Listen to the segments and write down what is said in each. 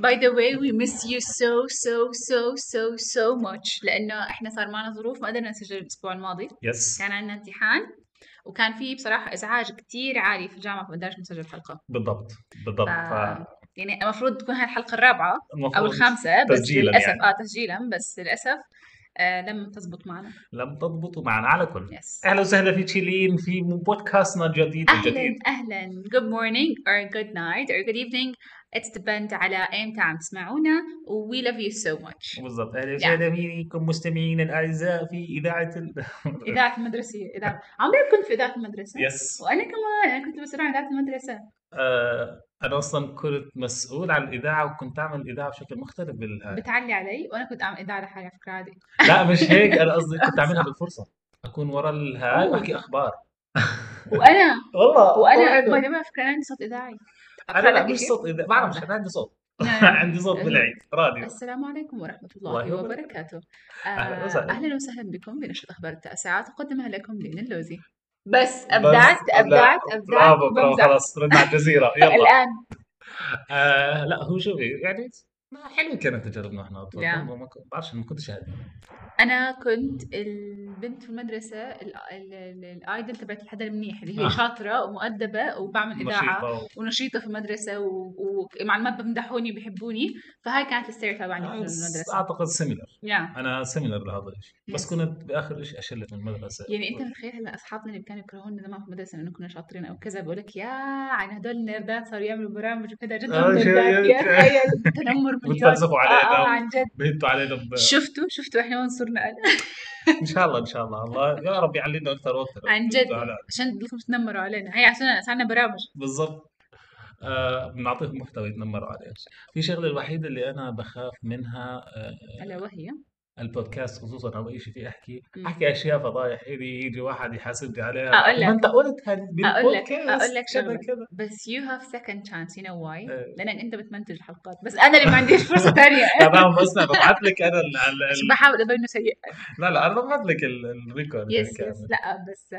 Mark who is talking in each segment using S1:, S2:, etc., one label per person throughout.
S1: باي ذا واي وي مس يو سو سو سو سو سو ماتش لانه احنا صار معنا ظروف ما قدرنا نسجل الاسبوع الماضي
S2: يس
S1: كان عندنا امتحان وكان في بصراحه ازعاج كتير عالي في الجامعه فما قدرناش نسجل حلقه
S2: بالضبط بالضبط
S1: ف-
S2: ف-
S1: يعني المفروض تكون هاي الحلقه الرابعه
S2: المفروض
S1: او الخامسه بس
S2: تسجيلاً
S1: للاسف
S2: يعني.
S1: اه تسجيلا بس للاسف آه لم تزبط معنا
S2: لم تضبطوا معنا على كل
S1: يس
S2: اهلا وسهلا في تشيلين في بودكاستنا الجديد
S1: اهلا
S2: الجديد
S1: اهلا good morning or good night or good evening it's depend على ايمتى عم تسمعونا و we love you so much
S2: بالضبط اهلا
S1: Yeah.
S2: وسهلا فيكم مستمعينا الاعزاء في اذاعه ال...
S1: اذاعه المدرسيه اذاعه عمري ما كنت في اذاعه المدرسه
S2: يس
S1: وانا كمان انا كنت مسؤوله عن اذاعه المدرسه
S2: آه انا اصلا كنت مسؤول عن الاذاعه وكنت اعمل الاذاعه بشكل مختلف بالهاي
S1: بتعلي علي وانا كنت اعمل اذاعه لحالي على فكره عادي
S2: لا مش هيك انا قصدي كنت اعملها بالفرصه اكون ورا الهاي
S1: أوه.
S2: واحكي اخبار
S1: وانا
S2: والله
S1: وانا
S2: وأنا-
S1: باي ذا فكره عندي صوت اذاعي
S2: انا لا
S1: أقرأ
S2: مش
S1: شيء؟
S2: صوت اذا بعرف انا عندي صوت
S1: نعم.
S2: عندي صوت بالعيد راديو
S1: السلام عليكم ورحمة
S2: الله
S1: الله وبركاته آه،
S2: أهلاً وسهلاً.
S1: أهلا وسهلا بكم بنشرة أخبار التاسعة تقدمها لكم لين اللوزي بس أبدعت
S2: بس- لا،
S1: أبدعت أبدعت
S2: برافو برافو
S1: وبمزح.
S2: خلاص رن على الجزيره يلا
S1: الآن
S2: آه لا هو شوفي يعني ما حلو كانت تجربنا احنا اطفال
S1: نعم.
S2: ما ما كنت- بعرفش ما كنتش هادي
S1: أنا كنت البنت في المدرسة ال- ال- ال- الأيدل تبعت الحدا المنيح اللي
S2: آه.
S1: هي شاطرة ومؤدبة وبعمل إذاعة
S2: نشيطه و-
S1: ونشيطه في المدرسه و- و- ومع المد بمدحوني بيحبوني فهاي كانت الستيريوتايب عندي في
S2: بس
S1: المدرسه
S2: اعتقد سيميلر
S1: yeah.
S2: انا سيميلر لهذا الشيء بس
S1: Yes.
S2: كنت باخر شيء اشلت من المدرسه
S1: يعني انت متخيل هلا اصحابنا اللي كانوا يكرهونا زمان في المدرسه لانه كنا شاطرين او كذا بقول لك يا عن هدول النيردات صاروا يعملوا برامج وكذا جد
S2: آه،
S1: هم
S2: شو-
S1: نيردات يا
S2: شو-
S1: هاي التنمر
S2: بتفلسفوا علينا.
S1: آه, اه عن جد
S2: بهتوا علينا ب...
S1: شفتوا شفتوا احنا وين صرنا الان
S2: ان شاء الله ان شاء الله الله يا رب يعلمنا اكثر واكثر
S1: عن جد
S2: لا.
S1: عشان تضلكم تتنمروا علينا هي عشان صار عندنا برامج
S2: بالضبط آه بنعطيهم محتوى يتنمروا عليه في شغله الوحيده اللي انا بخاف منها آه
S1: الا وهي
S2: البودكاست خصوصا او شيء فيه احكي
S1: مم.
S2: احكي اشياء فضايح الي يجي واحد يحاسبني عليها
S1: أقول
S2: ما انت قلت هال- بالبودكاست
S1: أقول لك
S2: كذا
S1: شغلة.
S2: كذا
S1: بس يو هاف سكند تشانس يو نو واي
S2: إيه.
S1: لانك انت بتمنتج الحلقات بس انا اللي ما عنديش فرصه ثانيه
S2: انا ما اسمع ببعث لك انا ال... ال... ال...
S1: بحاول ابينه سيء
S2: لا لا انا ببعث لك ال- الريكورد يعني
S1: يس يس لا بس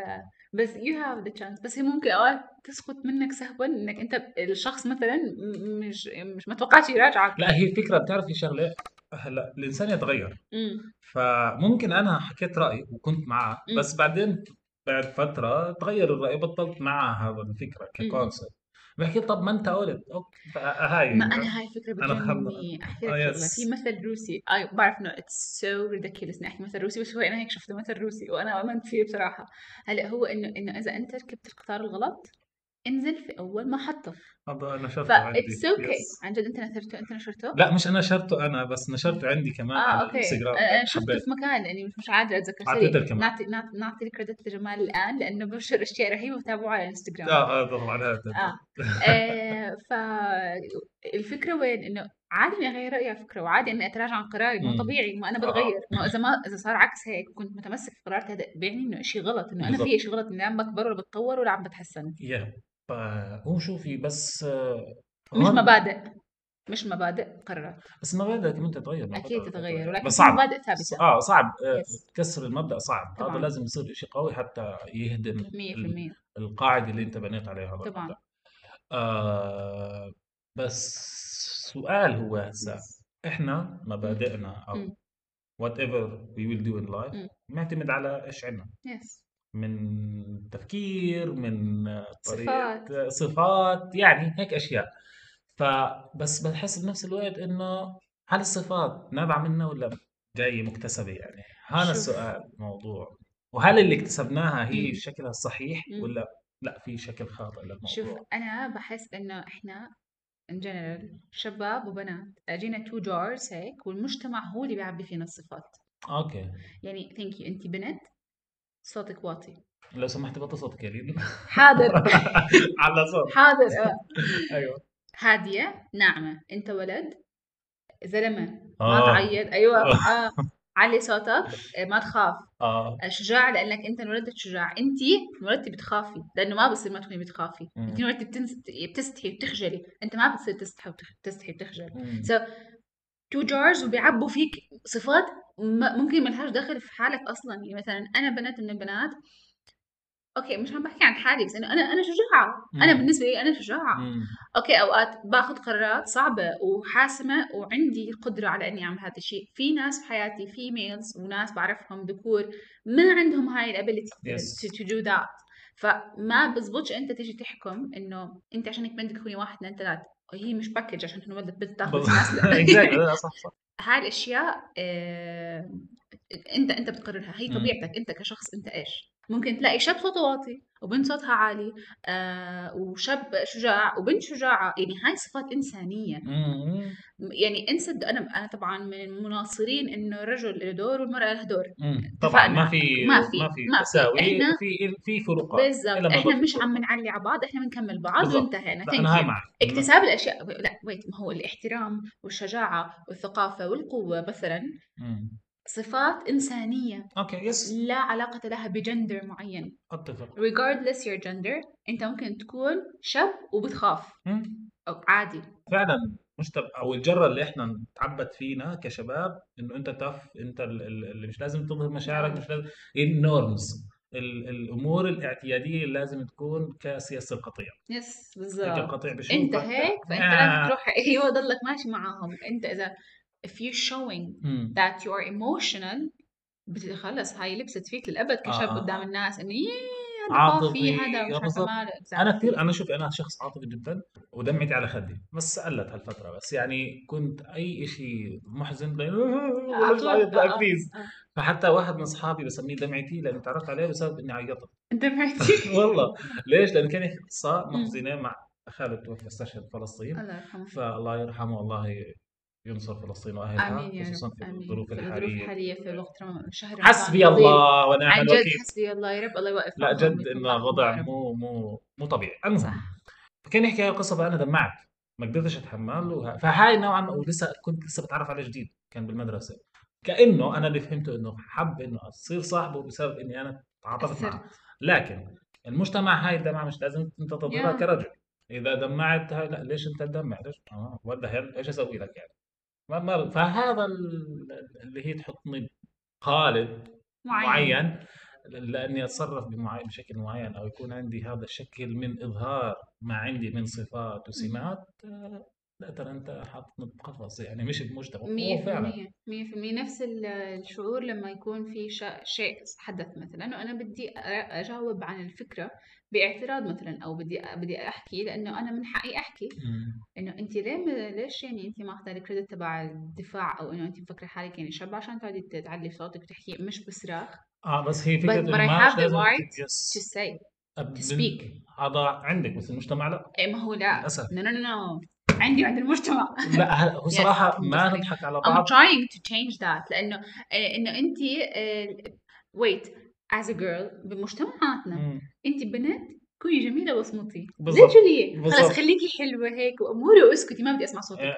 S1: بس يو هاف ذا تشانس بس هي ممكن اوقات تسقط منك سهوا انك انت الشخص مثلا م- مش مش ما توقعش يراجعك
S2: لا هي الفكره بتعرفي شغله هلا الانسان يتغير
S1: امم
S2: فممكن انا حكيت رايي وكنت معاه
S1: مم.
S2: بس بعدين بعد فتره تغير الراي بطلت معها هذا الفكره
S1: مم.
S2: ككونسبت بحكي طب ما انت قلت اوكي هاي
S1: ما انا هاي الفكره
S2: أنا خم-
S1: بتجنني احكي لك
S2: آه،
S1: شغله
S2: يس.
S1: في مثل روسي اي بعرف انه اتس سو ريدكيولس اني احكي مثل روسي بس هو انا هيك شفته مثل روسي وانا امنت فيه بصراحه هلا هو انه انه اذا انت ركبت القطار الغلط انزل في اول محطه
S2: هذا انا شفته عندي
S1: فاتس اوكي
S2: يس.
S1: عن جد انت نشرته انت نشرته
S2: لا مش انا نشرته انا بس نشرته عندي كمان
S1: اه
S2: على
S1: اوكي
S2: الانستغرام
S1: انا شفته
S2: حبيت
S1: في مكان يعني مش مش قادره اتذكر سوري.
S2: على تويتر كمان
S1: نعطي نعطي نعطي الكريدت لجمال الان لانه بنشر اشياء رهيبه وتابعوه على انستغرام
S2: اه اه طبعا هذا
S1: اه, آه فالفكره وين انه عادي اني اغير رايي على فكره وعادي اني اتراجع عن قراري ما
S2: مم.
S1: طبيعي ما انا
S2: آه.
S1: بتغير ما اذا ما اذا صار عكس هيك كنت متمسك في قرارتي هذا بيعني انه شيء غلط انه انا
S2: بالضبط.
S1: في شيء غلط اني عم بكبر ولا بتطور ولا عم بتحسن
S2: يا فا هو شوفي بس آه،
S1: مش
S2: هون-
S1: مبادئ مش مبادئ قرارات
S2: بس مبادئك انت تتغير مع
S1: اكيد
S2: فترة-
S1: تتغير
S2: فترة.
S1: ولكن
S2: بس
S1: في
S2: صعب
S1: مبادئ ثابته
S2: اه صعب آه،
S1: Yes.
S2: تكسر المبدا صعب هذا
S1: طبعاً.
S2: لازم يصير شيء قوي حتى يهدم
S1: 100%
S2: القاعده اللي انت بنيت عليها هذا
S1: طبعاً.
S2: المبدأ. آه بس سؤال هو هسه احنا مبادئنا او
S1: مم.
S2: وات ايفر وي ويل دو ان
S1: مم.
S2: لايف معتمد على ايش عندنا
S1: يس
S2: من تفكير من طريقة
S1: صفات.
S2: صفات, صفات يعني هيك أشياء فبس بحس بنفس الوقت إنه هل الصفات نابعة منا ولا جاية مكتسبة يعني هذا
S1: شوف.
S2: السؤال الموضوع وهل اللي اكتسبناها هي
S1: مم.
S2: شكلها الصحيح
S1: مم.
S2: ولا لا في شكل خاطئ للموضوع
S1: شوف انا بحس انه احنا ان جنرال شباب وبنات اجينا تو جارز هيك والمجتمع هو اللي بيعبي فينا الصفات
S2: اوكي
S1: يعني ثانك يو انت بنت صوتك واطي
S2: لو سمحت بطل صوتك يا لين
S1: حاضر
S2: على صوت
S1: حاضر آه.
S2: ايوه
S1: هاديه ناعمه انت ولد زلمه ما
S2: آه.
S1: تعيط ايوه آه. علي صوتك آه، ما تخاف
S2: اه
S1: آه، شجاع لانك انت انولدت شجاع انت انولدتي بتخافي لانه ما بصير ما تكوني بتخافي
S2: مم.
S1: انت انولدتي بتنس... بتستحي بتخجلي انت ما بتصير تستحي وبتخ- بتستحي بتخجل
S2: مم.
S1: So, تو جارز وبيعبوا فيك صفات م- ممكن ملهاش دخل في حالك اصلا يعني مثلا انا بنت من البنات اوكي مش عم بحكي عن حالي بس انه انا انا شجاعه انا
S2: مم.
S1: بالنسبه لي انا شجاعه
S2: مم.
S1: اوكي اوقات باخذ قرارات صعبه وحاسمه وعندي القدره على اني اعمل هذا الشيء في ناس بحياتي في ميلز وناس بعرفهم ذكور ما عندهم هاي الابيلتي
S2: Yes.
S1: تو دو ذات فما بزبطش انت تيجي تحكم انه انت عشانك بنتك هي واحد اثنين ثلاثه هي مش باكج عشان هن ولدت بنت تاخذ
S2: بالضبط.
S1: ناس
S2: Exactly. لا، صح صح
S1: هاي الاشياء آه، انت انت بتقررها هي
S2: مم.
S1: طبيعتك انت كشخص انت ايش ممكن تلاقي شاب صوته واطي وبنت صوتها عالي آه وشاب شجاع وبنت شجاعه يعني هاي صفات انسانيه
S2: مم.
S1: يعني انسى الد- انا انا طبعا من المناصرين انه الرجل له دور والمراه لها دور
S2: مم. طبعا ما في
S1: ما في-
S2: ما في
S1: ما في.
S2: تساوي
S1: إحنا-
S2: في في فروقات
S1: بالضبط
S2: آه، إلا ما
S1: احنا
S2: ضل-
S1: مش عم نعلي على بعض احنا بنكمل بعض
S2: بالضبط.
S1: وانتهينا
S2: لا، انا هاي
S1: ثانك يو
S2: معك
S1: اكتساب الاشياء لا ويت ما هو الاحترام والشجاعه والثقافه والقوه مثلا
S2: مم.
S1: صفات انسانيه
S2: اوكي يس
S1: لا علاقة لها بجندر معين
S2: اتفق
S1: regardless your gender انت ممكن تكون شاب وبتخاف
S2: مم.
S1: أو عادي
S2: فعلا مش تب... او الجره اللي احنا نتعبد فينا كشباب انه انت تف انت ال- ال- اللي مش لازم تظهر مشاعرك
S1: آه.
S2: مش لازم النورمز ال... الامور الاعتياديه اللي لازم تكون كسياسه القطيع
S1: يس
S2: هيك
S1: بالظبط
S2: القطيع بشوفك
S1: انت هيك فانت لازم
S2: آه.
S1: تروح ايوه ضلك ماشي معاهم انت اذا if you're showing
S2: مم.
S1: that you are emotional بتخلص هاي لبست فيك للابد كشاب
S2: آه.
S1: قدام الناس انه ييه هذا
S2: عاطفي
S1: قافي هذا مش عارفه
S2: بالضبط.
S1: ماله
S2: انا كثير
S1: exactly.
S2: انا شوف انا شخص عاطفي جدا ودمعتي على خدي بس قلت هالفتره بس يعني كنت اي شيء محزن بين-
S1: على
S2: بلاش
S1: طول
S2: اعيط
S1: آه،
S2: لا
S1: آه،
S2: بليز
S1: آه.
S2: فحتى واحد من اصحابي بسميه دمعتي لانه تعرفت عليه بسبب اني عيطت
S1: دمعتي
S2: والله ليش؟ لانه كان يحكي قصه
S1: مم. آه.
S2: محزنه مع خاله توفى في استشهد فلسطين
S1: الله يرحمه
S2: فالله يرحمه والله ينصر فلسطين واهلها
S1: امين يا
S2: خصوصا
S1: رب
S2: في
S1: امين
S2: الظروف
S1: في الظروف
S2: الحاليه
S1: الحاليه في الوقت رم- شهر
S2: حسبي
S1: رمضان الطويل
S2: الله ونعم
S1: عن جد
S2: الوكيل
S1: حسبي الله يا رب الله يوقف
S2: لا
S1: معهم
S2: جد
S1: ويكون
S2: انه
S1: معهم يا
S2: وضع
S1: رب
S2: مو مو مو طبيعي المهم
S1: صح
S2: فكان يحكي هاي القصه فانا دمعت ما قدرتش اتحمل وه... فهاي نوعا ما ولسه كنت لسه بتعرف عليه جديد كان بالمدرسه كانه انا اللي فهمته انه حب انه اصير صاحبه بسبب اني انا تعاطفت معه
S1: اثرت
S2: لكن المجتمع هاي الدمعه مش لازم انت
S1: يا
S2: تظهرها كرجل اذا دمعت هاي لا ليش انت تدمع ليش اه وات ايش اسوي لك يعني ما ما فهذا ال- اللي هي تحطني قالب
S1: معين
S2: معين لاني اتصرف بمعين بشكل معين او يكون عندي هذا الشكل من اظهار ما عندي من صفات وسمات آه، لا ترى انت حاطني بقفص يعني مش بمجتمع
S1: مية
S2: هو
S1: في
S2: فعلا
S1: المية مية في المية نفس ال- الشعور لما يكون في شا- شيء حدث مثلا وأنا بدي أ- أجاوب عن الفكرة باعتراض مثلا أو بدي بدي أحكي لأنه أنا من حقي أحكي
S2: مم.
S1: انه انت ليه م- ليش يعني انت ماخذه الكريدت تبع الدفاع او انه انت مفكره حالك يعني شاب عشان تقعدي ت- تعلي صوتك وتحكي مش بصراخ
S2: اه بس هي فكره
S1: but, but
S2: انه
S1: I
S2: ما
S1: have
S2: مش
S1: the
S2: لازم
S1: right
S2: ت-
S1: to
S2: يس
S1: say
S2: أب-
S1: to
S2: من-
S1: speak
S2: هذا عندك بس المجتمع لا
S1: إيه ما هو لا
S2: للاسف
S1: no no no no عندي عند المجتمع
S2: لا هل- هو
S1: yes
S2: صراحه
S1: I'm
S2: ما
S1: just kidding
S2: نضحك على
S1: I'm
S2: بعض
S1: trying to change that لأنه آه، إنه أنت آه، wait as a girl بمجتمعاتنا
S2: مم.
S1: أنت بنت كوني جميلة واصمتي
S2: بالضبط
S1: literally خلاص
S2: بالضبط
S1: خليكي حلوة هيك وأموري واسكتي ما بدي أسمع صوتك
S2: آه،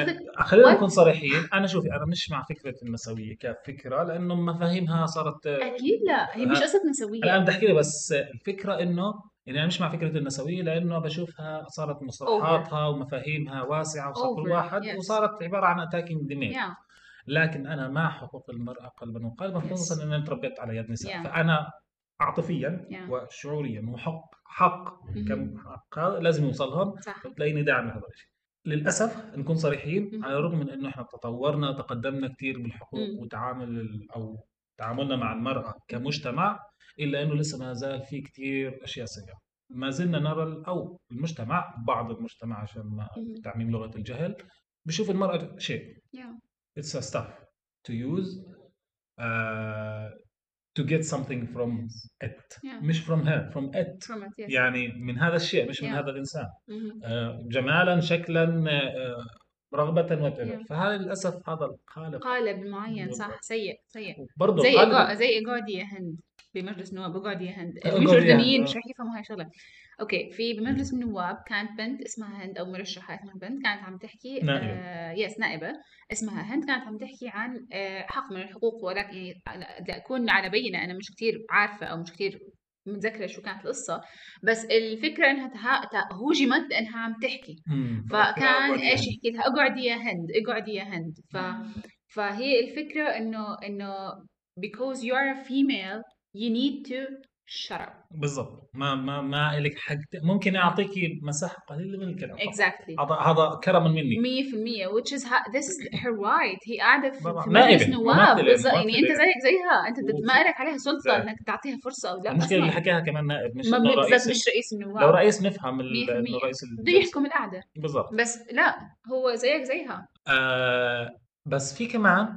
S1: قصدك
S2: آه، خلينا
S1: what
S2: نكون صريحين انا شوفي انا مش مع فكره النسويه كفكره لانه مفاهيمها صارت آه،
S1: أكيد لا هي مش
S2: آه،
S1: قصة
S2: انا
S1: نسوية
S2: عم بحكي بس الفكره انه يعني انا مش مع فكره النسويه لانه بشوفها صارت
S1: over
S2: مصطلحاتها ومفاهيمها واسعه وصار كل
S1: over
S2: واحد
S1: yes
S2: وصارت عباره عن اتاكينج دي
S1: yeah
S2: لكن انا مع حقوق المراه قلبا وقالبا خصوصا
S1: yes
S2: ان انا تربيت على يد نساء
S1: yeah
S2: فانا عاطفيا
S1: yeah Mm-hmm.
S2: وشعوريا وحق حق
S1: مهم.
S2: كم حق هذا لازم يوصلهم
S1: صح
S2: وتلاقيني داعم لهذا الشيء للاسف نكون صريحين على
S1: مهم.
S2: الرغم من انه احنا تطورنا تقدمنا كثير بالحقوق
S1: مم.
S2: وتعامل ال- او تعاملنا مع المراه
S1: مهم.
S2: كمجتمع الا انه لسه ما زال في كثير اشياء سيئه ما زلنا نرى ال- او المجتمع بعض المجتمع عشان ما
S1: مهم.
S2: تعميم لغه الجهل بشوف المراه شيء
S1: yeah
S2: it's a stuff to use uh, to get something from
S1: yes
S2: it
S1: yeah
S2: مش from her from it
S1: from it yes
S2: يعني من هذا الشيء مش من
S1: yeah
S2: هذا الانسان
S1: مهم.
S2: آه، جمالا شكلا آه، رغبه وات
S1: yeah
S2: فهذا للاسف هذا القالب
S1: قالب معين صح
S2: بالضبط
S1: سيء سيء
S2: وبرضه
S1: زي
S2: قالب
S1: إيقا- زي إيقادي يا هند بمجلس النواب إيقادي يا هند مش
S2: اقعد يا هند
S1: أردنيين مش
S2: آه.
S1: رح يفهموا هاي الشغلة أوكي في بمجلس النواب كانت بنت اسمها هند أو مرشحة اسمها بنت كانت عم تحكي
S2: نائبه
S1: آه يس نائبة اسمها هند كانت عم تحكي عن آه حق من الحقوق ولكن يعني أنا- بدي أكون على بينة أنا مش كتير عارفة أو مش كتير متذكرة شو كانت القصة بس الفكرة إنها تها- تا- هوجمت لأنها عم تحكي
S2: امم فقالت لها
S1: فكان
S2: اقعد يا
S1: ايش
S2: هند
S1: يحكي لها اقعدي يا هند اقعدي يا هند ف فهي الفكرة انه انه because you are a female you need to الشرب
S2: بالضبط ما ما ما لك حق ت- ممكن اعطيك مساحه قليله من الكلام فقط.
S1: اكزاكتلي
S2: هذا هذا كرما مني
S1: 100% which is ha- this is her right هي قاعده في,
S2: طبعاً.
S1: في مجلس
S2: نائبة،
S1: نواب
S2: ممثلة،
S1: بالظبط يعني انت
S2: ممثلة.
S1: زيك زيها انت بت- ما لك عليها سلطه
S2: صحيح.
S1: انك تعطيها فرصه او لا
S2: المشكله اللي
S1: اصلا
S2: حكاها كمان نائب مش
S1: ما
S2: إنه
S1: بالذات
S2: رئيس
S1: مش رئيس
S2: لو
S1: النواب
S2: رئيس نفهم ال-
S1: 100%
S2: انه رئيس
S1: بده
S2: الجلسة.
S1: يحكم القعده
S2: بالضبط
S1: بس لا هو زيك زيها
S2: آه بس في كمان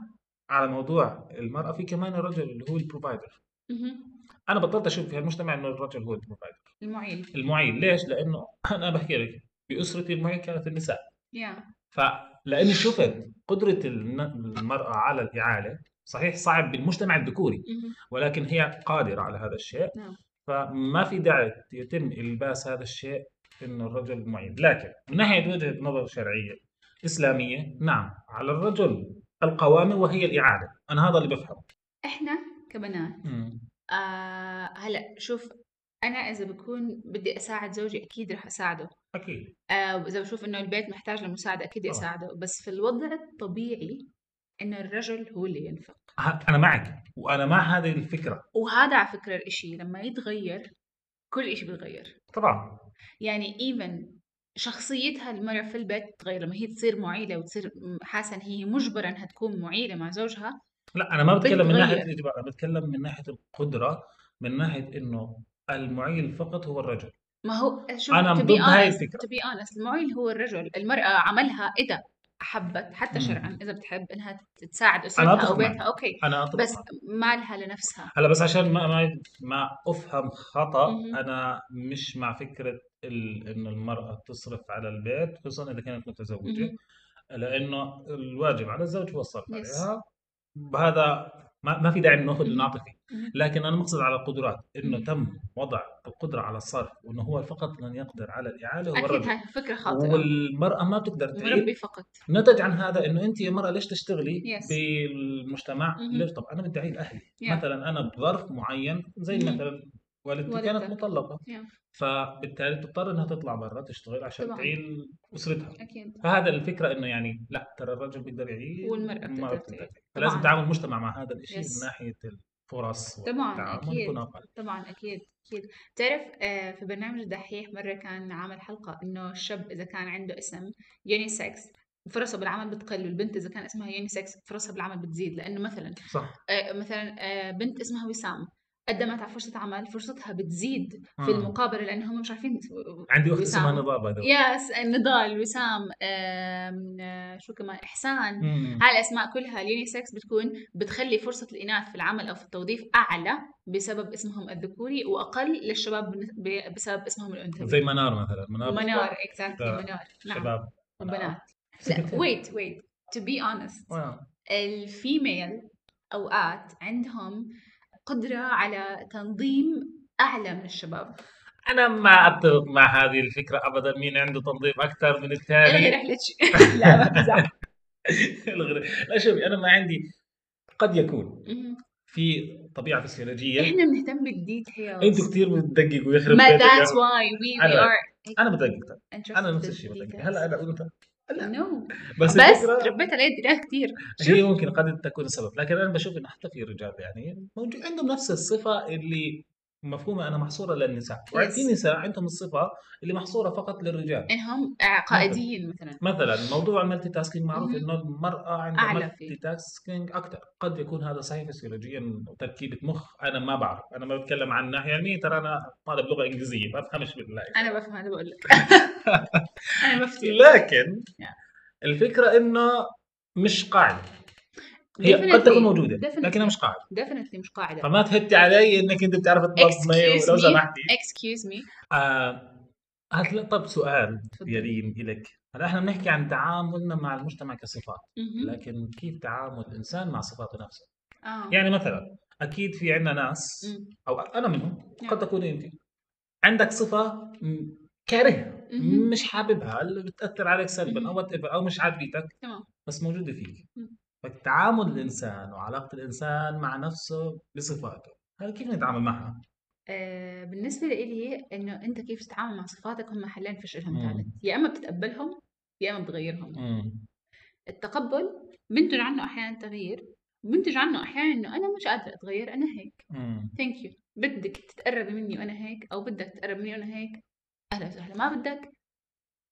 S2: على موضوع المرأة في كمان الرجل اللي هو البروفايدر
S1: مهم.
S2: أنا بطلت أشوف في هالمجتمع إنه الرجل هو البروفايدر
S1: المعيل
S2: المعيل ليش؟ لأنه أنا بحكي لك بأسرتي المعيل كانت النساء
S1: يا
S2: فلأني شفت قدرة الن- المرأة على الإعالة صحيح صعب بالمجتمع الذكوري
S1: مهم.
S2: ولكن هي قادرة على هذا الشيء
S1: نعم.
S2: فما في داعي يتم إلباس هذا الشيء إنه الرجل معين لكن من ناحية وجهة نظر شرعية إسلامية نعم على الرجل القوامة وهي الإعادة أنا هذا اللي بفهمه
S1: احنا كبنات آه هلا شوف انا اذا بكون بدي اساعد زوجي اكيد رح اساعده
S2: أكيد
S1: آه واذا بشوف انه البيت محتاج لمساعده اكيد
S2: طبعاً.
S1: اساعده بس في الوضع الطبيعي انه الرجل هو اللي ينفق
S2: ه- أنا معك وأنا مع هذه الفكرة
S1: وهذا على فكره الاشي لما يتغير كل اشي بيتغير
S2: طبعا
S1: يعني ايفن شخصيتها المرأة في البيت تتغير لما هي تصير معيلة وتصير م- حاسة إن هي مجبرة إنها تكون معيلة مع زوجها
S2: لا أنا ما بتكلم من
S1: بتغير.
S2: ناحية الإجبار أنا بتكلم من ناحية القدرة من ناحية إنه المعيل فقط هو الرجل
S1: ما هو شوف
S2: أنا
S1: to be
S2: ضد هاي
S1: honest-
S2: الفكرة.
S1: to be honest المعيل هو الرجل المرأة عملها إذا أحبت حتى
S2: مم.
S1: شرعا إذا بتحب إنها تساعد أسرتها أو
S2: أتفق معك.
S1: بيتها أوكي
S2: أنا أتفق
S1: بس مالها لنفسها
S2: هلا بس عشان ما ما ما افهم خطا
S1: مهم.
S2: انا مش مع فكره ال... ان المراه تصرف على البيت خصوصا اذا كانت متزوجه
S1: مهم.
S2: لانه الواجب على الزوج هو الصرف
S1: Yes.
S2: عليها بهذا ما, ما في داعي ناخذ
S1: مهم.
S2: نعطي فيه
S1: مهم.
S2: لكن انا مقصد على القدرات انه
S1: مهم.
S2: تم وضع القدره على الصرف وانه هو فقط من يقدر على الاعاله هو
S1: أكيد
S2: الرجل
S1: هاي فكرة خاطئة
S2: والمراه ما بتقدر تعيش
S1: مربي فقط
S2: نتج عن هذا انه انت يا مرأة ليش تشتغلي
S1: Yes.
S2: بالمجتمع
S1: مهم.
S2: ليش طب انا بدي اعيد اهلي
S1: Yeah.
S2: مثلا انا بظرف معين زي
S1: مهم.
S2: مثلا والدتي
S1: والدتك.
S2: كانت مطلقه
S1: Yeah.
S2: فبالتالي بتضطر انها تطلع برا تشتغل عشان
S1: طبعاً.
S2: تعيل اسرتها
S1: أكيد
S2: فهذا الفكره انه يعني لا ترى الرجل بيقدر يعيل
S1: والمرأة
S2: والمرأة
S1: بتقدر تعيل.
S2: فلازم
S1: طبعاً.
S2: تعامل المجتمع مع هذا الشيء
S1: Yes.
S2: من ناحيه الفرص
S1: طبعاً،
S2: والتعامل
S1: أكيد.
S2: يكون اقل
S1: طبعا اكيد اكيد تعرف آه، في برنامج الدحيح مره كان عامل حلقه انه الشاب اذا كان عنده اسم يونيسكس فرصه بالعمل بتقل والبنت اذا كان اسمها يونيسكس فرصها بالعمل بتزيد لانه مثلا
S2: صح
S1: آه، مثلا آه، بنت اسمها وسام قدمت على فرصه عمل فرصتها بتزيد في
S2: آه.
S1: المقابله لانهم مش عارفين
S2: عندي اخت اسمها
S1: وسام.
S2: نضال باي ذا واي.
S1: ياس نضال وسام آم، آه، شو كمان احسان
S2: مم.
S1: هاي الاسماء كلها اليونيسكس بتكون بتخلي فرصه الاناث في العمل او في التوظيف اعلى بسبب اسمهم الذكوري واقل للشباب بن- ب- بسبب اسمهم الانثوي
S2: زي منار مثلا منار
S1: منار اكزاكتلي
S2: آه،
S1: منار نعم
S2: شباب
S1: وبنات لا
S2: سكرتير.
S1: ويت ويت تو بي اونست
S2: آه.
S1: الفيميل اوقات عندهم قدره على تنظيم اعلى من الشباب
S2: انا ما اتفق مع هذه الفكره ابدا مين عنده تنظيف اكثر من
S1: الغي
S2: الثاني
S1: رحلتك إيه، لا ما بزعل
S2: الغريب. لا شوفي انا ما عندي قد يكون
S1: مهم.
S2: في طبيعه فسيولوجيه
S1: احنا بنهتم بالديتيلز
S2: انتوا كثير بتدققوا ويخرب
S1: إيه. ما
S2: بيتك.
S1: ذاتس واي وي
S2: يعني أنا
S1: وي
S2: لا.
S1: ار
S2: انا بدقق انا نفس الشيء بدقق هلا انا وانت
S1: نو
S2: بس,
S1: بس
S2: الفكرة
S1: ربيت على يدي ناس كثير
S2: هي ممكن قد تكون السبب لكن انا بشوف انه حتى في رجال يعني موجود عندهم نفس الصفه اللي مفهومه انا محصوره للنساء وعن- في نساء عندهم الصفه اللي محصوره فقط للرجال
S1: انهم عقائديين مثلا
S2: مثلا موضوع المالتي تاسكينج معروف
S1: مهم.
S2: انه المراه عندها
S1: أعلى
S2: مالتي تاسكينج اكثر قد يكون هذا صحيح فسيولوجيا تركيبه مخ انا ما بعرف انا ما بتكلم عن الناحيه العلميه ترى انا طالب لغه انجليزيه ما بفهمش بالله
S1: انا بفهم هذا بقول لك انا بفتي
S2: لكن
S1: Yeah.
S2: الفكره انه مش قاعده هي قد تكون موجوده لكنها مش قاعده
S1: ديفنتلي مش قاعده
S2: فما تهتي علي انك انت بتعرف تنظمي
S1: Excuse
S2: لو
S1: me.
S2: سمحتي
S1: اكسكيوز مي
S2: آه هات- طب سؤال
S1: تفضل.
S2: يا ريم الك هلا احنا بنحكي عن تعاملنا مع المجتمع كصفات لكن كيف تعامل الانسان مع صفاته نفسه يعني مثلا اكيد في عندنا ناس او انا منهم
S1: نعم.
S2: قد تكون انت عندك صفه م- كارهها
S1: مهم.
S2: مش حاببها اللي بتاثر عليك سلبا
S1: مهم.
S2: او whatever، او مش عاجبتك
S1: تمام
S2: بس موجوده فيك
S1: مم.
S2: فتعامل الانسان وعلاقه الانسان مع نفسه بصفاته هل كيف نتعامل معها؟
S1: آه، بالنسبة لإلي إنه أنت كيف تتعامل مع صفاتك هم حلين فيش إلهم
S2: مم.
S1: ثالث، يا إما بتتقبلهم يا إما بتغيرهم،
S2: مم.
S1: التقبل بنتج عنه أحيانا تغيير منتج عنه احيانا انه انا مش قادره اتغير انا هيك
S2: امم
S1: ثانك يو بدك تتقربي مني وانا هيك او بدك تتقرب مني وانا هيك اهلا وسهلا ما بدك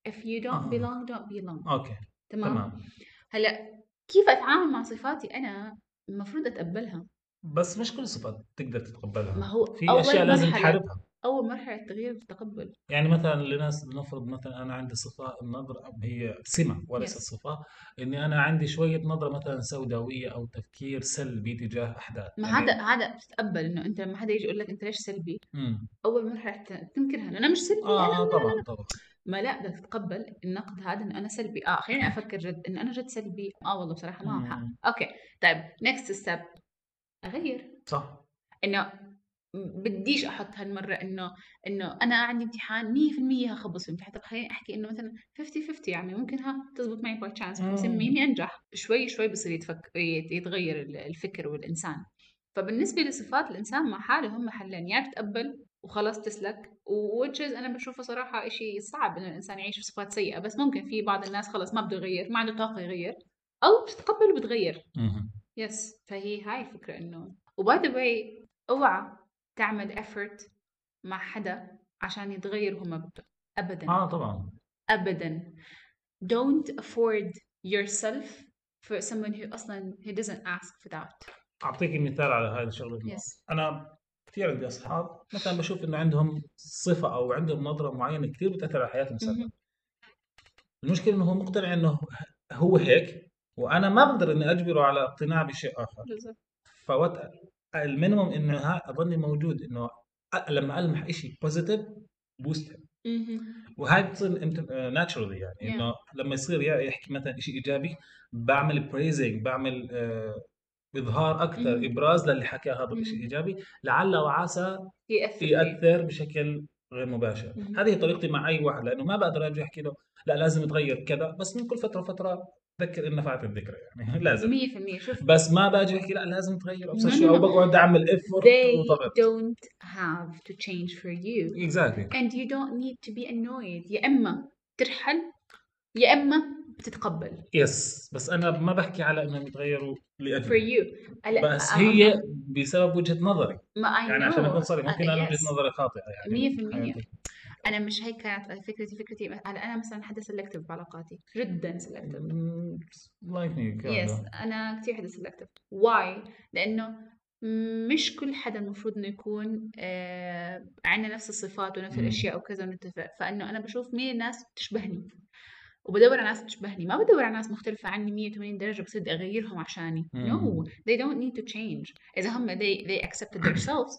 S1: if you don't
S2: آه.
S1: belong don't belong
S2: اوكي
S1: تمام, تمام.
S2: تمام
S1: هلا كيف اتعامل مع صفاتي انا المفروض اتقبلها
S2: بس مش كل صفات تقدر تتقبلها
S1: ما هو
S2: في
S1: أول
S2: اشياء لازم
S1: مرحلة.
S2: تحاربها
S1: اول مرحله التغيير التقبل
S2: يعني مثلا لناس نفرض مثلا انا عندي صفه النظره هي سمه وليست
S1: Yes.
S2: صفه اني انا عندي شويه نظره مثلا سوداويه او تفكير سلبي تجاه احداث
S1: ما
S2: يعني-
S1: هذا هذا بتتقبل انه انت لما حدا يجي يقول لك انت ليش سلبي
S2: امم
S1: اول مرحله ت- تنكرها انه انا مش سلبي انا
S2: اه
S1: يعني أنا-
S2: طبعا طبعا
S1: ما لا بدك تتقبل النقد هذا انه انا سلبي اه خليني افكر جد انه انا جد سلبي اه والله بصراحه معهم حق
S2: مم.
S1: اوكي طيب نكست ستيب اغير
S2: صح
S1: انه م- بديش احط هالمره انه انه انا عندي امتحان 100% هخبص في الامتحان طب خليني احكي انه مثلا 50 50 يعني ممكن ها تزبط معي باي تشانس
S2: مم.
S1: 50 مين ينجح شوي شوي بصير يتفك... يت- يتغير ال- الفكر والانسان فبالنسبه لصفات الانسان مع حاله هم حلين يا تتقبل وخلاص تسلك وتشيز انا بشوفه صراحه إشي صعب انه الانسان يعيش بصفات سيئه بس ممكن في بعض الناس خلاص ما بده يغير ما عنده طاقه يغير او بتتقبل وبتغير
S2: مهم.
S1: يس فهي هاي الفكرة انه وباي ذا واي اوعى تعمل effort مع حدا عشان يتغير هو ما بده ابدا
S2: اه طبعا
S1: ابدا don't afford yourself for someone who اصلا who doesn't ask for that
S2: اعطيك مثال على هذه الشغله
S1: يس
S2: انا كثير عندي اصحاب مثلا بشوف انه عندهم صفه او عندهم نظره معينه كثير بتاثر على حياتهم سلبا
S1: مهم.
S2: المشكله انه هو مقتنع انه هو هيك وانا ما بقدر اني اجبره على اقتناع بشيء اخر
S1: بالضبط
S2: فوات المينيموم انه ها اظني موجود انه أ- لما المح شيء بوزيتيف بوست
S1: مهم.
S2: وهاي بتصير ناتشرالي يعني
S1: Yeah.
S2: انه لما يصير يا- يحكي مثلا شيء ايجابي بعمل بريزنج بعمل آه، اظهار اكثر
S1: مهم.
S2: ابراز للي حكى هذا الشيء
S1: مهم.
S2: ايجابي لعل وعسى
S1: يأثر فيه.
S2: ياثر بشكل غير مباشر
S1: مهم.
S2: هذه طريقتي مع اي واحد لانه ما بقدر اجي احكي له لا لازم تغير كذا بس من كل فتره فتره ذكر ان نفعت الذكرى يعني لازم
S1: 100% شوف
S2: بس ما باجي احكي لا لازم تغير
S1: No,
S2: ابصر
S1: no,
S2: شو او
S1: no.
S2: بقعد اعمل
S1: they
S2: افورت وضغط
S1: don't have to change for you
S2: اكزاكتلي
S1: and you don't need to be annoyed يا اما ترحل يا اما تتقبل
S2: يس بس انا ما بحكي على انهم يتغيروا
S1: for
S2: لاجلي
S1: you هلا
S2: بس
S1: أم-
S2: هي بسبب وجهه نظري
S1: ما I
S2: يعني عشان
S1: know. Uh,
S2: اكون صريح ممكن انا
S1: Yes.
S2: وجهه نظري خاطئه
S1: مية
S2: يعني
S1: في المية.
S2: حياتي.
S1: انا مش هيك كانت فكرتي فكرتي هلا انا مثلا حدا سلكتيف بعلاقاتي جدا سلكتيف Mm.
S2: مم، like me
S1: يس
S2: kinda.
S1: انا كثير حدا سلكتيف واي لانه مش كل حدا المفروض انه يكون آه عندنا نفس الصفات ونفس
S2: مم.
S1: الاشياء وكذا ونتفق فانه انا بشوف مين الناس بتشبهني وبدور على ناس بتشبهني ما بدور على ناس مختلفة عني 180 درجة بصير بدي اغيرهم عشاني
S2: مم.
S1: no they don't need to change اذا هم they they accepted themselves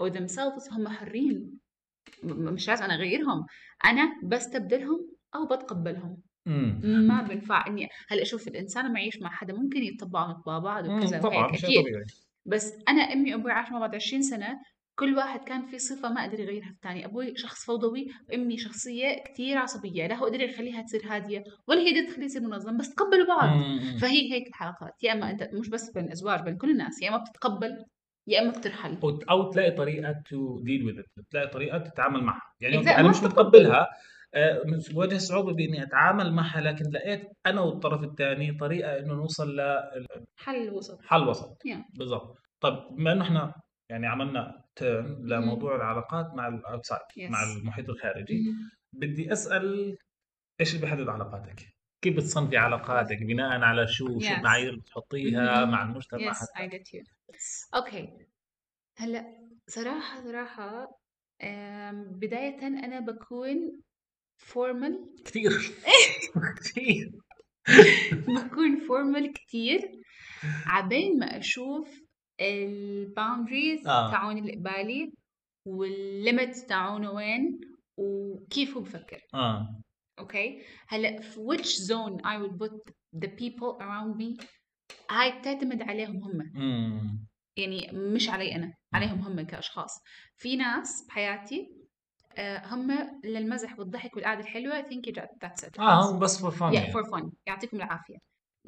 S1: or themselves هم حرين م- م- مش لازم انا اغيرهم انا بستبدلهم او بتقبلهم
S2: مم.
S1: ما بنفع اني هلا شوف الانسان لما يعيش مع حدا ممكن يتطبعوا نطبع بعض وكذا
S2: مم، طبعا
S1: وهيك
S2: شيء
S1: اكيد
S2: طبيعي
S1: بس انا امي وابوي عاشوا مع بعض 20 سنه كل واحد كان في صفة ما قدر يغيرها في الثاني، أبوي شخص فوضوي، وأمي شخصية كتير عصبية، لا هو قدر يخليها تصير هادية، ولا هي قدرت تخليه يصير منظم، بس تقبلوا بعض،
S2: مم.
S1: فهي هيك الحلقات، يا إما أنت مش بس بين الأزواج بين كل الناس، يا إما بتتقبل يا إما بترحل.
S2: او أو تلاقي طريقه تو ديل وذ تلاقي طريقه تتعامل معها يعني
S1: Exactly.
S2: انا
S1: ما
S2: مش متقبلها آه، مش- بواجه صعوبه باني اتعامل معها لكن لقيت انا والطرف الثاني طريقه انه نوصل
S1: حل وسط.
S2: لحل وسط
S1: Yeah.
S2: بالضبط طب بما انه احنا يعني عملنا تيرن
S1: مم.
S2: لموضوع العلاقات مع الاوتسايد
S1: Mm-hmm. Yes. Mm-hmm.
S2: مع المحيط الخارجي بدي اسال ايش اللي بيحدد علاقاتك؟ كيف بتصنفي علاقاتك بناء على شو شو
S1: Yes.
S2: المعايير بتحطيها
S1: مم.
S2: مع المجتمع
S1: Yes,
S2: حتى
S1: I get you. اوكي هلا صراحة صراحة آم، بداية أنا بكون فورمال
S2: كثير كثير
S1: بكون فورمال كتير عبين ما أشوف الباوندريز
S2: آه.
S1: تاعون اللي قبالي والليميتس تاعونه وين وكيف هو بفكر
S2: اه
S1: اوكي هلا في which zone I would put the people around me هاي بتعتمد عليهم هم
S2: امم
S1: يعني مش علي انا عليهم هم كاشخاص في ناس بحياتي آه، هم للمزح والضحك والقعده الحلوه ثينك ذاتس ات
S2: اه هم بس فور فن
S1: يا فور فن يعطيكم العافيه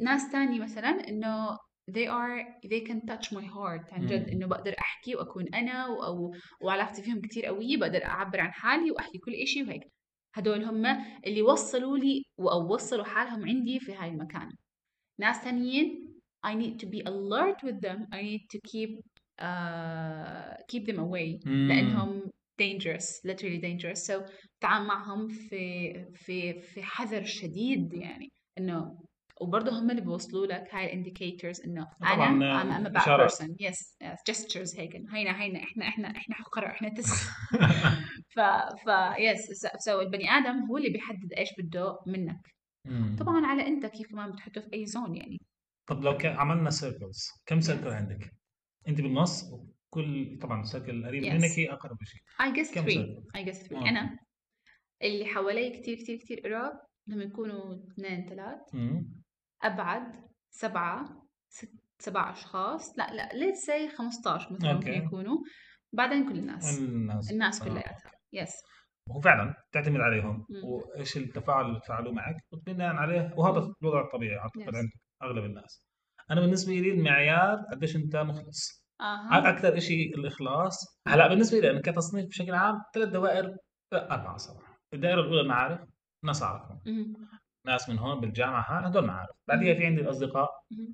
S1: ناس تاني مثلا انه they are they can touch my heart عن جد
S2: مم.
S1: انه بقدر احكي واكون انا و- او وعلاقتي فيهم كتير قويه بقدر اعبر عن حالي واحكي كل إشي وهيك هدول هم اللي وصلوا لي او وصلوا حالهم عندي في هاي المكان ناس تانيين I I need to be alert with them I need to keep uh, keep them away لانهم dangerous literally dangerous so تعامل معهم في في في حذر شديد يعني انه وبرضه هم اللي بيوصلوا لك هاي الانديكيتورز انه انا
S2: طبعاً، آه،
S1: I'm, I'm a bad
S2: إشارات.
S1: person yes, yes gestures هيك إنه هينا هينا احنا احنا احنا حقراء احنا تس ف ف يس سو البني ادم هو اللي بيحدد ايش بده منك
S2: طبعا
S1: طبعا على انت كيف كمان بتحطه في اي زون يعني
S2: طب لو كان عملنا سيركلز كم سيركل عندك؟ انت بالنص كل طبعا السيركل القريب
S1: Yes.
S2: منك هي اقرب شيء
S1: I guess
S2: كم
S1: 3
S2: سيركل؟
S1: I guess 3
S2: آه.
S1: انا اللي حوالي كتير كتير كتير قراب لما يكونوا اثنين ثلاث
S2: مم.
S1: ابعد سبعه ست سبع اشخاص لا لا ليتس سي 15 مثلا ممكن
S2: أوكي.
S1: يكونوا بعدين كل الناس
S2: الناس
S1: الناس
S2: آه.
S1: كلياتها يس
S2: هو فعلا تعتمد عليهم
S1: مم.
S2: وايش التفاعل اللي تفاعلوه معك وبناء عليه وهذا
S1: مم.
S2: الوضع الطبيعي اعتقد
S1: Yes.
S2: عند اغلب الناس انا بالنسبه لي المعيار قديش انت مخلص
S1: اها
S2: اكثر شيء الاخلاص هلا بالنسبه لي انا كتصنيف بشكل عام ثلاث دوائر لا، اربعه صراحه الدائره الاولى المعارف ناس اعرفهم
S1: مهم.
S2: ناس من هون بالجامعه ها- هدول معارف بعديها في عندي الاصدقاء
S1: مهم.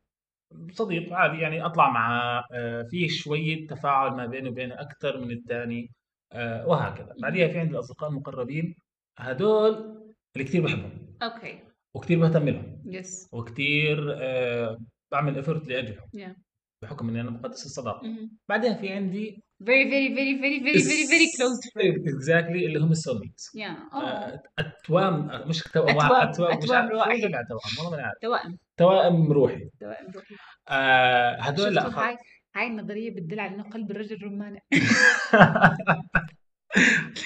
S2: صديق عادي يعني اطلع معه آه، في شويه تفاعل ما بيني وبينه اكثر من الثاني آه، وهكذا بعديها في عندي الاصدقاء المقربين هدول اللي كثير بحبهم
S1: اوكي
S2: وكثير بهتم لهم
S1: يس
S2: وكثير بعمل افورت لاجلهم
S1: Yeah.
S2: بحكم اني انا بقدس الصداقه
S1: مهم.
S2: بعدها في عندي
S1: very very very very very very very close friends
S2: اكزاكتلي اللي هم السول ميتس
S1: yeah
S2: آه.
S1: oh
S2: اتوام مش توأم
S1: أتوام،
S2: اتوام مش
S1: أتوام
S2: عارف شو
S1: روحي.
S2: وجع توأم والله ما أنا عارف
S1: توائم
S2: توائم روحي
S1: توائم روحي
S2: آه، هدول لا
S1: شفتوا
S2: خ-
S1: هاي هاي النظريه بتدل على انه قلب الرجل رمانه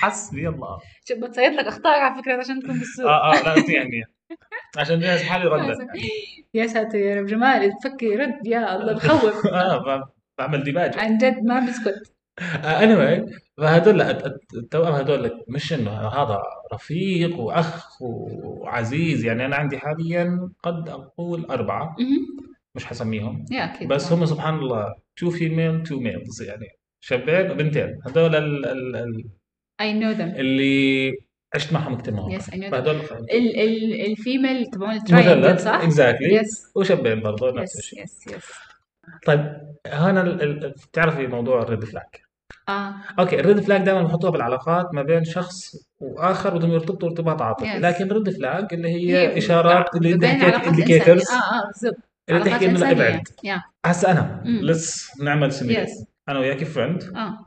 S2: حسبي الله
S1: شو بتصير لك اخطاء على فكره عشان تكون بالسوق
S2: اه اه لا انت يعني عشان جاهز حالي ردا
S1: يا ساتر يا رب جمال تفكري رد يا الله بخوف
S2: اه ب- بعمل ديباج آه،
S1: عن جد ما بسكت
S2: اني واي فهدول أت- أت- التوأم هدول مش انه هذا رفيق واخ وعزيز يعني انا عندي حاليا قد اقول اربعه
S1: مهم.
S2: مش حسميهم
S1: يا اكيد
S2: بس
S1: طبعاً.
S2: هم سبحان الله تو فيميل تو ميلز يعني شابين وبنتين هدول ال- ال- ال-
S1: I know them
S2: اللي عشت معهم كثير مواقف
S1: Yes, I know them.
S2: فهدول
S1: ال ال الفيميل تبعون التراينجل
S2: مثلث
S1: صح؟
S2: اكزاكتلي
S1: يس
S2: وشابين برضه نفس
S1: يس
S2: الشيء
S1: يس يس
S2: طيب هنا ال- ال- بتعرفي موضوع الريد فلاج
S1: اه
S2: اوكي الريد فلاج دائما بحطوها بالعلاقات ما بين شخص واخر بدهم يرتبطوا ارتباط عاطفي
S1: Yes.
S2: لكن الريد فلاج اللي هي,
S1: هي
S2: اشارات اللي انت
S1: بين
S2: حكيت
S1: العلاقات الإنسانية.
S2: انديكيتورز
S1: اه اه بالضبط
S2: اللي
S1: العلاقات
S2: بتحكي انه لا،
S1: الإنسانية
S2: ابعد
S1: يا
S2: هسه انا
S1: مم.
S2: ليتس نعمل سيميليت
S1: يس
S2: انا وياك فريند
S1: اه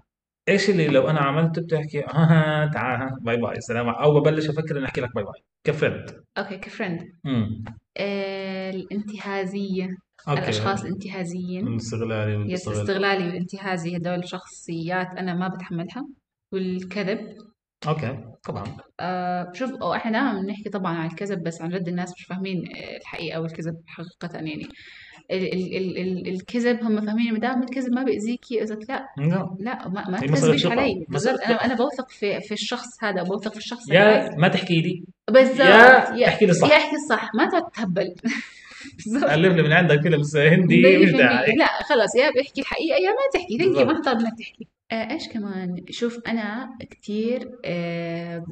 S2: ايش اللي لو انا عملته بتحكي ها تعال باي باي سلام او ببلش افكر اني احكي لك باي باي كفريند
S1: اوكي كفرند
S2: امم
S1: آه الانتهازية
S2: اوكي
S1: الأشخاص الانتهازيين
S2: الاستغلالي
S1: يس
S2: والاستغلال
S1: استغلالي والانتهازي هدول شخصيات أنا ما بتحملها والكذب
S2: اوكي طبعا
S1: آه شوف أو احنا دائما بنحكي طبعا عن الكذب بس عن جد الناس مش فاهمين آه، الحقيقة والكذب حقيقة يعني ال ال ال ال الكذب هم فاهمين إنه دام الكذب ما بيأذيكي إذا لا
S2: لا.
S1: لا ما, ما
S2: هي مسألة
S1: تكذبيش
S2: ثقة.
S1: علي بالضبط
S2: مسألة
S1: انا انا بوثق في في الشخص هذا بوثق في الشخص العايز.
S2: يا ما تحكي لي
S1: بالضبط
S2: يا احكي لي صح
S1: يا احكي الصح ما تقعد تهبل بالضبط
S2: الف لي من عندك فيلم هندي مش
S1: 100%
S2: داعي
S1: لا خلص يا بيحكي الحقيقه يا ما تحكي تنكي
S2: بالضبط.
S1: ما طلب منك تحكي آه ايش كمان شوف انا كثير آه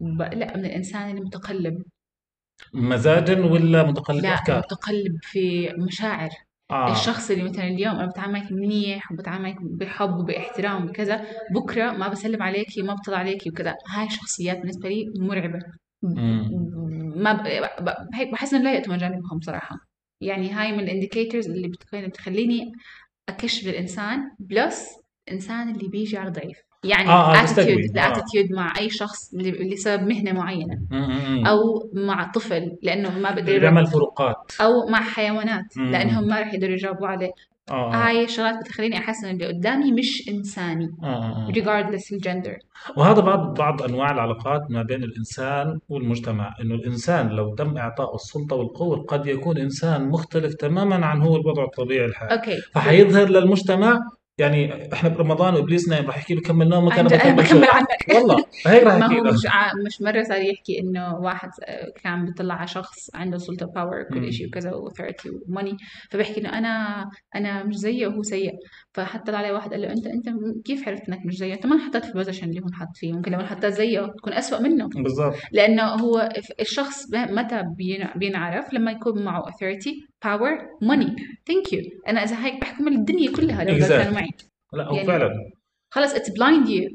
S1: ب... لا من الانسان المتقلب
S2: مزاجا ولا متقلب
S1: لا
S2: افكار؟
S1: المتقلب في مشاعر
S2: اه
S1: الشخص اللي مثلا اليوم انا بتعامل معك منيح وبتعامل معك بحب وباحترام وكذا بكره ما بسلم عليكي ما بطلع عليكي وكذا هاي الشخصيات بالنسبه لي مرعبه
S2: مم.
S1: ما ب... ب- هيك بحس انه لا يأتمن جانبهم صراحه يعني هاي من الانديكيتورز اللي بتكون بتخليني اكشف الانسان بلس الانسان اللي بيجي على ضعيف يعني
S2: آه، آه،
S1: الاتيتيود
S2: تستقوي. آه.
S1: الاتيتيود مع اي شخص ل- لسبب مهنه معينه
S2: مم.
S1: او مع طفل لانه ما بقدر
S2: اللي بيعمل فروقات
S1: او مع حيوانات
S2: مم.
S1: لانهم ما رح يقدروا يجاوبوا عليه
S2: اه آه.
S1: هاي الشغلات بتخليني احس انه اللي قدامي مش انساني
S2: آه.
S1: regardless الجندر
S2: وهذا بعض بعض انواع العلاقات ما بين الانسان والمجتمع، انه الانسان لو تم اعطائه السلطه والقوه قد يكون انسان مختلف تماما عن هو الوضع الطبيعي الحالي،
S1: اوكي
S2: فحيظهر للمجتمع يعني احنا برمضان وابليس نايم راح يحكي له كمل نومك انا
S1: عن جد انا
S2: بكمل شغلي.
S1: بكمل عنك
S2: والله هيك راح
S1: ما
S2: يحكي
S1: هو
S2: له
S1: مش ع... مش مره صار يحكي انه واحد آه، كان بيطلع على شخص عنده سلطه باور
S2: مم.
S1: كل شيء وكذا وثورتي وماني فبيحكي انه انا انا مش زيه وهو سيء فحط عليه واحد قال له انت انت كيف عرفت انك مش زيه؟ انت ما انحطيت في البوزيشن اللي هو انحط فيه ممكن لو انحطيت زيه تكون أسوأ منه
S2: بالضبط
S1: لانه هو ف- الشخص ب- متى بين- بينعرف لما يكون معه authority باور ماني ثانك يو انا اذا هيك بحكم الدنيا كلها لو
S2: Exactly.
S1: كانوا معي
S2: لا هو
S1: يعني-
S2: فعلا
S1: خلص اتس بلايند يو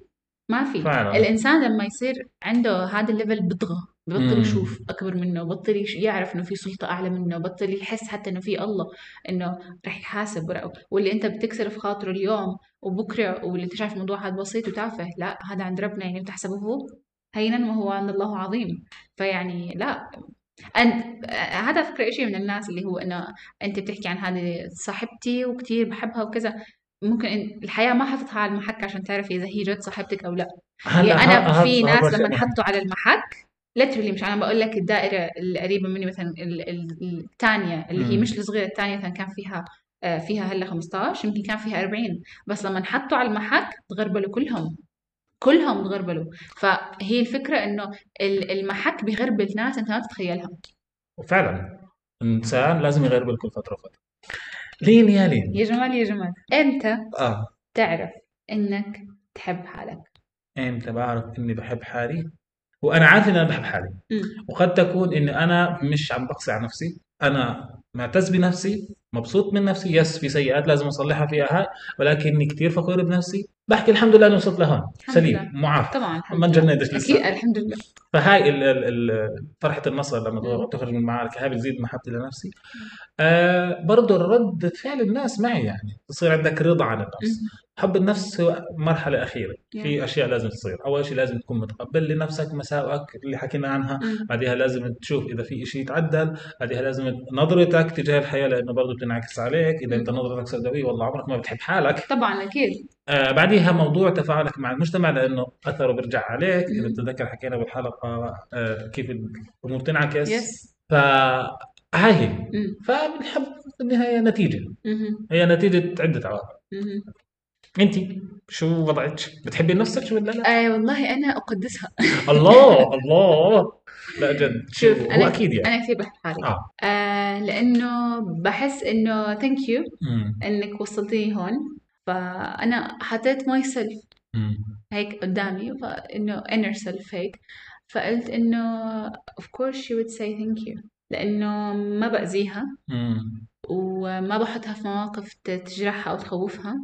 S1: ما في
S2: فعلا.
S1: الانسان لما يصير عنده هذا الليفل بضغه ببطل
S2: مم.
S1: يشوف اكبر منه ببطل يش- يعرف انه في سلطه اعلى منه ببطل يحس حتى انه في الله انه رح يحاسب ورا- واللي انت بتكسر في خاطره اليوم وبكره واللي انت شايف الموضوع هذا بسيط وتافه لا هذا عند ربنا يعني بتحسبه هينا وهو عند الله عظيم فيعني لا أنت هذا فكرة شيء من الناس اللي هو انه انت بتحكي عن هذه صاحبتي وكتير بحبها وكذا ممكن إن- الحياة ما حطتها على المحك عشان تعرفي إذا هي جد صاحبتك أو لا يعني
S2: هلا
S1: أنا
S2: ه-
S1: في
S2: هذا-
S1: ناس
S2: هذا
S1: لما
S2: شيء
S1: نحطوا على المحك literally مش أنا بقول لك الدائرة القريبة مني مثلا الثانية اللي هي
S2: مم.
S1: مش الصغيرة الثانية مثلا كان فيها آه، فيها هلا 15 يمكن كان فيها 40 بس لما نحطوا على المحك تغربلوا كلهم كلهم تغربلوا فهي الفكرة إنه ال- المحك بيغربل ناس أنت ما تتخيلها
S2: فعلا الانسان لازم يغربل كل فتره وفتره لين يا لين
S1: يا جمال يا جمال أنت
S2: اه
S1: تعرف إنك تحب حالك
S2: امتى بعرف اني بحب حالي وانا عارف ان انا بحب حالي
S1: مم.
S2: وقد تكون ان انا مش عم بقسى على نفسي انا معتز بنفسي مبسوط من نفسي يس في سيئات لازم اصلحها فيها هاي ولكني كثير فخور بنفسي بحكي الحمد لله اني وصلت لهون
S1: الحمد لله.
S2: سليم معاف
S1: طبعا الحمد
S2: ما
S1: لله.
S2: تجنيتش
S1: أكيد
S2: لسه
S1: الحمد لله
S2: فهاي ال- ال- ال- فرحه النصر لما
S1: مم.
S2: تخرج من المعركه هاي بتزيد محبتي لنفسي آه برضه ردة فعل الناس معي يعني بصير عندك رضا عن النفس حب النفس هو مرحلة أخيرة
S1: نعم.
S2: في أشياء لازم تصير أول شيء لازم تكون متقبل لنفسك مساوئك اللي حكينا عنها
S1: مم.
S2: بعدها لازم تشوف إذا في شيء يتعدل بعدها لازم نظرتك تجاه الحياة لأنه برضه بتنعكس عليك إذا أنت نظرتك سوداوية والله عمرك ما بتحب حالك
S1: طبعا اكيد
S2: آه بعديها موضوع تفاعلك مع المجتمع لأنه أثره بيرجع عليك إذا
S1: مم.
S2: بتتذكر حكينا بالحلقة آه كيف الأمور تنعكس
S1: يس
S2: فهاي هي
S1: مم.
S2: فبنحب بالنهاية نتيجة
S1: مهم.
S2: هي نتيجة عدة عوامل
S1: مهم.
S2: انت شو وضعك؟ بتحبي نفسك ولا لا؟
S1: آه والله انا اقدسها
S2: الله الله لا جد
S1: شوف
S2: هو
S1: انا
S2: اكيد يعني
S1: انا كثير بحب حالي
S2: آه.
S1: آه لانه بحس انه ثانك يو
S2: مم.
S1: انك وصلتيني هون فانا حطيت ماي سيلف
S2: مم.
S1: هيك قدامي فانه inner self هيك فقلت انه of course she would say thank you لانه ما باذيها
S2: مم.
S1: وما بحطها في مواقف ت- تجرحها أو تخوفها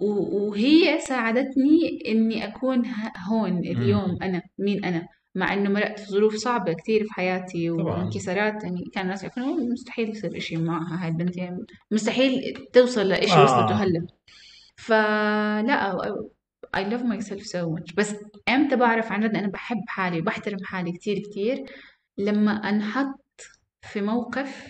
S1: و- وهي ساعدتني إني أكون ه- هون اليوم أنا مين أنا مع إنه مرقت في ظروف صعبة كتير في حياتي
S2: طبعاً.
S1: وانكسارات يعني كان الناس يعرفون مستحيل يصير إشي معها هاي البنت يعني مستحيل توصل لإشي
S2: آه.
S1: وصلته هلا فلا I love myself so much بس امتى بعرف عن جد انا بحب حالي وبحترم حالي كتير كتير لما انحط في موقف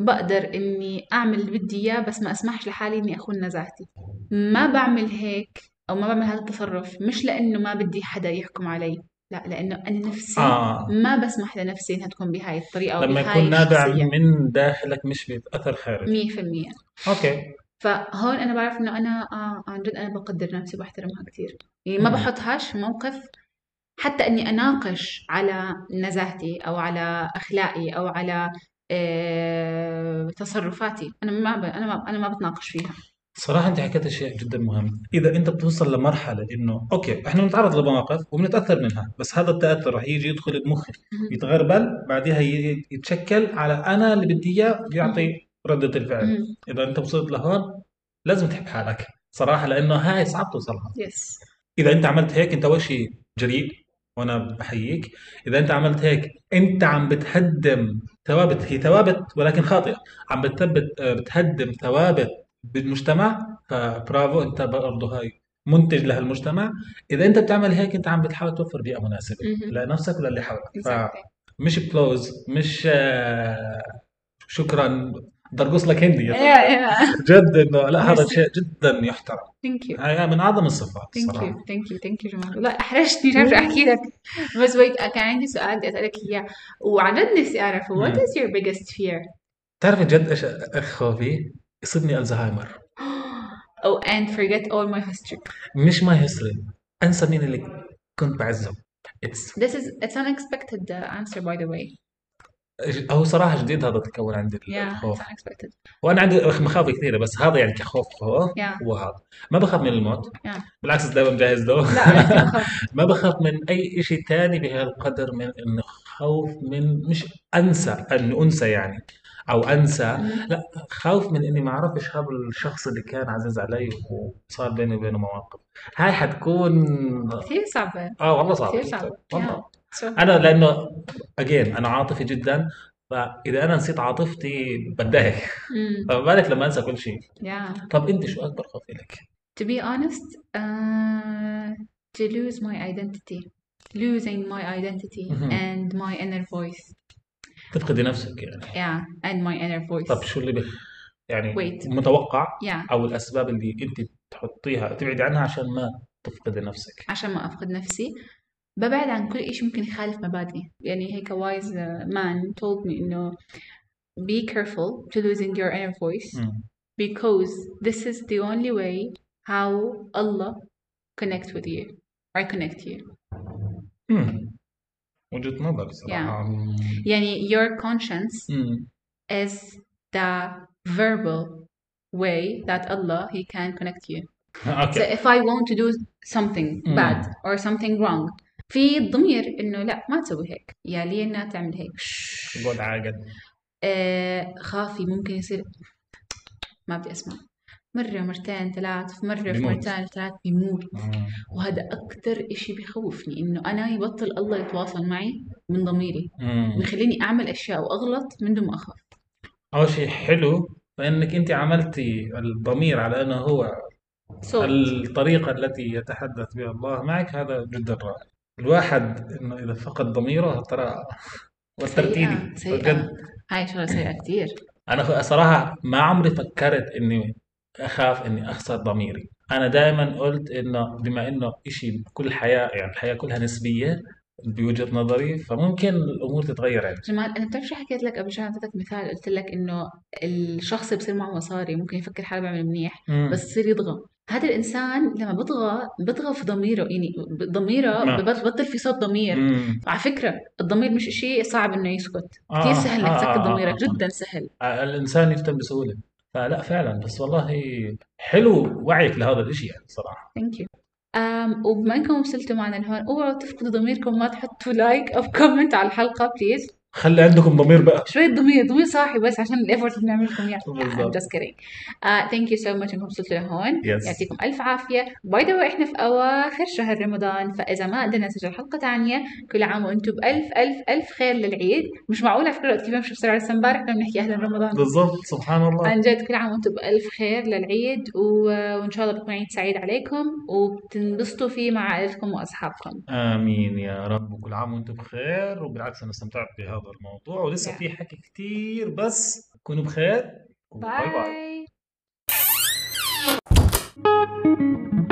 S1: بقدر اني اعمل اللي بدي اياه بس ما اسمحش لحالي اني اخون نزاهتي ما بعمل هيك او ما بعمل هذا التصرف مش لانه ما بدي حدا يحكم علي لا لانه انا نفسي
S2: آه.
S1: ما بسمح لنفسي انها تكون بهاي الطريقه
S2: لما
S1: وبهاي
S2: يكون نابع
S1: الشخصيه
S2: من داخلك مش بأثر خارجي
S1: 100%
S2: اوكي
S1: فهون انا بعرف انه انا آه عن جد انا بقدر نفسي وبحترمها كثير يعني ما
S2: مم.
S1: بحطهاش في موقف حتى اني اناقش على نزاهتي او على اخلاقي او على آه، تصرفاتي انا ما ب... انا ما انا ما بتناقش فيها
S2: صراحة أنت حكيت أشياء جدا مهمة، إذا أنت بتوصل لمرحلة إنه أوكي إحنا بنتعرض لمواقف وبنتأثر منها، بس هذا التأثر رح يجي يدخل بمخي، يتغربل، بعدها ي- يتشكل على أنا اللي بدي إياه يعطي ردة الفعل،
S1: مهم.
S2: اذا انت وصلت لهون لازم تحب حالك صراحه لانه هاي صعب توصلها
S1: يس
S2: اذا انت عملت هيك انت اول شيء جريء وانا بحييك اذا انت عملت هيك انت عم بتهدم ثوابت هي ثوابت ولكن خاطئه عم بتثبت آه، بتهدم ثوابت بالمجتمع فبرافو انت برضه هاي منتج لهالمجتمع اذا انت بتعمل هيك انت عم بتحاول توفر بيئه مناسبه
S1: مهم.
S2: لنفسك وللي حولك ف...
S1: Exactly.
S2: مش بلوز مش آه، شكرا بدي ارقص لك هندي يا
S1: Yeah, yeah.
S2: جد انه لا هذا
S1: إيه. ميرسي.
S2: شيء جدا يحترم
S1: Thank you.
S2: هاي من اعظم الصفات
S1: ثانك
S2: صراحه
S1: يو ثانك يو ثانك يو جمال والله احرجتني مش عارفه احكي لك بس ويت كان عندي سؤال بدي اسالك اياه وعن جد نفسي اعرف
S2: مم.
S1: what is your biggest fear؟
S2: بتعرفي جد ايش خوفي؟ يصيبني الزهايمر
S1: Oh, and forget all my history.
S2: مش ماي هيستوري انسى مين اللي كنت بعزه اتس
S1: This is it's unexpected uh, answer by the way.
S2: هو صراحه جديد هذا تكون عندي
S1: Yeah,
S2: الخوف
S1: it's unexpected.
S2: وانا عندي مخاوف كثيره بس هذا يعني كخوف خوف
S1: Yeah.
S2: وهذا ما بخاف من الموت
S1: Yeah.
S2: بالعكس دائما جاهز له
S1: لا أنا كثير بخاف.
S2: ما بخاف من اي شيء ثاني بهالقدر من انه خوف من مش انسى ان انسى يعني او انسى خوف من اني ما اعرفش هذا الشخص اللي كان عزيز علي وصار بيني وبينه مواقف هاي حتكون
S1: كثير صعبة
S2: اه والله صعبة
S1: كثير
S2: جدا
S1: صعبة
S2: والله
S1: Yeah. So-
S2: انا لانه اجين انا عاطفي جدا فاذا انا نسيت عاطفتي بتضايق
S1: مم.
S2: فما بالك لما انسى كل شيء
S1: hmm, Yeah.
S2: طب انت شو اكبر خوف لك؟
S1: To be honest, uh, to lose my identity. Losing my identity
S2: Mhm.
S1: and my inner voice.
S2: تفقدي نفسك يعني
S1: Yeah, and my inner voice.
S2: طب شو اللي بي... يعني
S1: Wait.
S2: متوقع
S1: Yeah.
S2: او الاسباب اللي انت تحطيها تبعدي عنها عشان ما تفقدي نفسك
S1: عشان ما أفقد نفسي ببعد عن كل إشي ممكن يخالف مبادئي يعني هيك wise uh, man told me إنه be careful to losing your inner voice
S2: مم.
S1: because this is the only way how Allah connect with you or connect you
S2: مم. وجهة نظر صراحة
S1: يعني your conscience
S2: مم.
S1: is the verbal way that Allah he can connect you So
S2: اوكي
S1: if I want to do something
S2: Mm.
S1: bad or something wrong في ضمير انه لا ما تسوي هيك يا لينا تعمل هيك
S2: قول عاقد
S1: آه خافي ممكن يصير ما بدي اسمع مرة مرتين ثلاث في مرة في
S2: بيموت.
S1: مرتين ثلاث بيموت
S2: مم.
S1: وهذا أكتر إشي بخوفني إنه أنا يبطل الله يتواصل معي من ضميري
S2: مم.
S1: ويخليني أعمل أشياء وأغلط من دون ما أخاف
S2: اول شيء حلو لانك انت عملتي الضمير على انه هو
S1: so
S2: الطريقة التي يتحدث بها الله معك هذا جدا رائع الواحد انه اذا فقد ضميره ترى وترتيلي
S1: سيئة سيئة
S2: بجد
S1: هاي شغلة سيئة كتير
S2: انا صراحة ما عمري فكرت اني اخاف اني اخسر ضميري انا دائما قلت انه بما انه شيء كل حياة يعني الحياة كلها نسبية بوجهة نظري فممكن الامور تتغير يعني. عندي
S1: جمال انا بتعرف شو حكيت لك قبل شوي اعطيتك مثال قلت لك انه الشخص اللي بصير معه مصاري ممكن يفكر حاله بيعمل منيح
S2: مم.
S1: بس يصير يطغى هذا الانسان لما بطغى بطغى في ضميره يعني ب- ضميره
S2: نعم.
S1: ببطل في صوت ضمير
S2: مم.
S1: على فكره الضمير مش شيء صعب انه يسكت
S2: آه،
S1: كثير سهل
S2: آه،
S1: انك
S2: آه،
S1: تسكت
S2: آه،
S1: ضميرك
S2: آه.
S1: جدا سهل
S2: الانسان يفتن بسهوله فلا فعلا بس والله حلو وعيك لهذا الشيء يعني صراحه
S1: ثانك يو أم وبما انكم Um, وصلتوا معنا لهون اوعوا تفقدوا ضميركم ما تحطوا لايك او كومنت على الحلقه بليز
S2: خلي عندكم ضمير بقى
S1: شوية ضمير ضمير صاحي بس عشان الايفورت اللي بنعمل لكم اياه
S2: بالضبط.
S1: I'm just kidding Uh, ثانك يو سو ماتش انكم وصلتوا لهون
S2: Yes.
S1: يعطيكم الف عافية باي ذا واي احنا في اواخر شهر رمضان فاذا ما قدرنا نسجل حلقة ثانية كل عام وانتم بألف الف الف خير للعيد مش معقول على فكرة وقت كيف بمشي بسرعة لسه امبارح كنا بنحكي اهلا رمضان
S2: بالضبط سبحان الله
S1: عن جد كل عام وانتم بألف خير للعيد و... وان شاء الله بيكون عيد سعيد عليكم وبتنبسطوا فيه مع عائلتكم واصحابكم
S2: امين يا رب وكل عام وانتم بخير وبالعكس انا استمتعت بهذا الموضوع ولسه
S1: Yeah.
S2: في حكي كتير بس كونوا بخير
S1: باي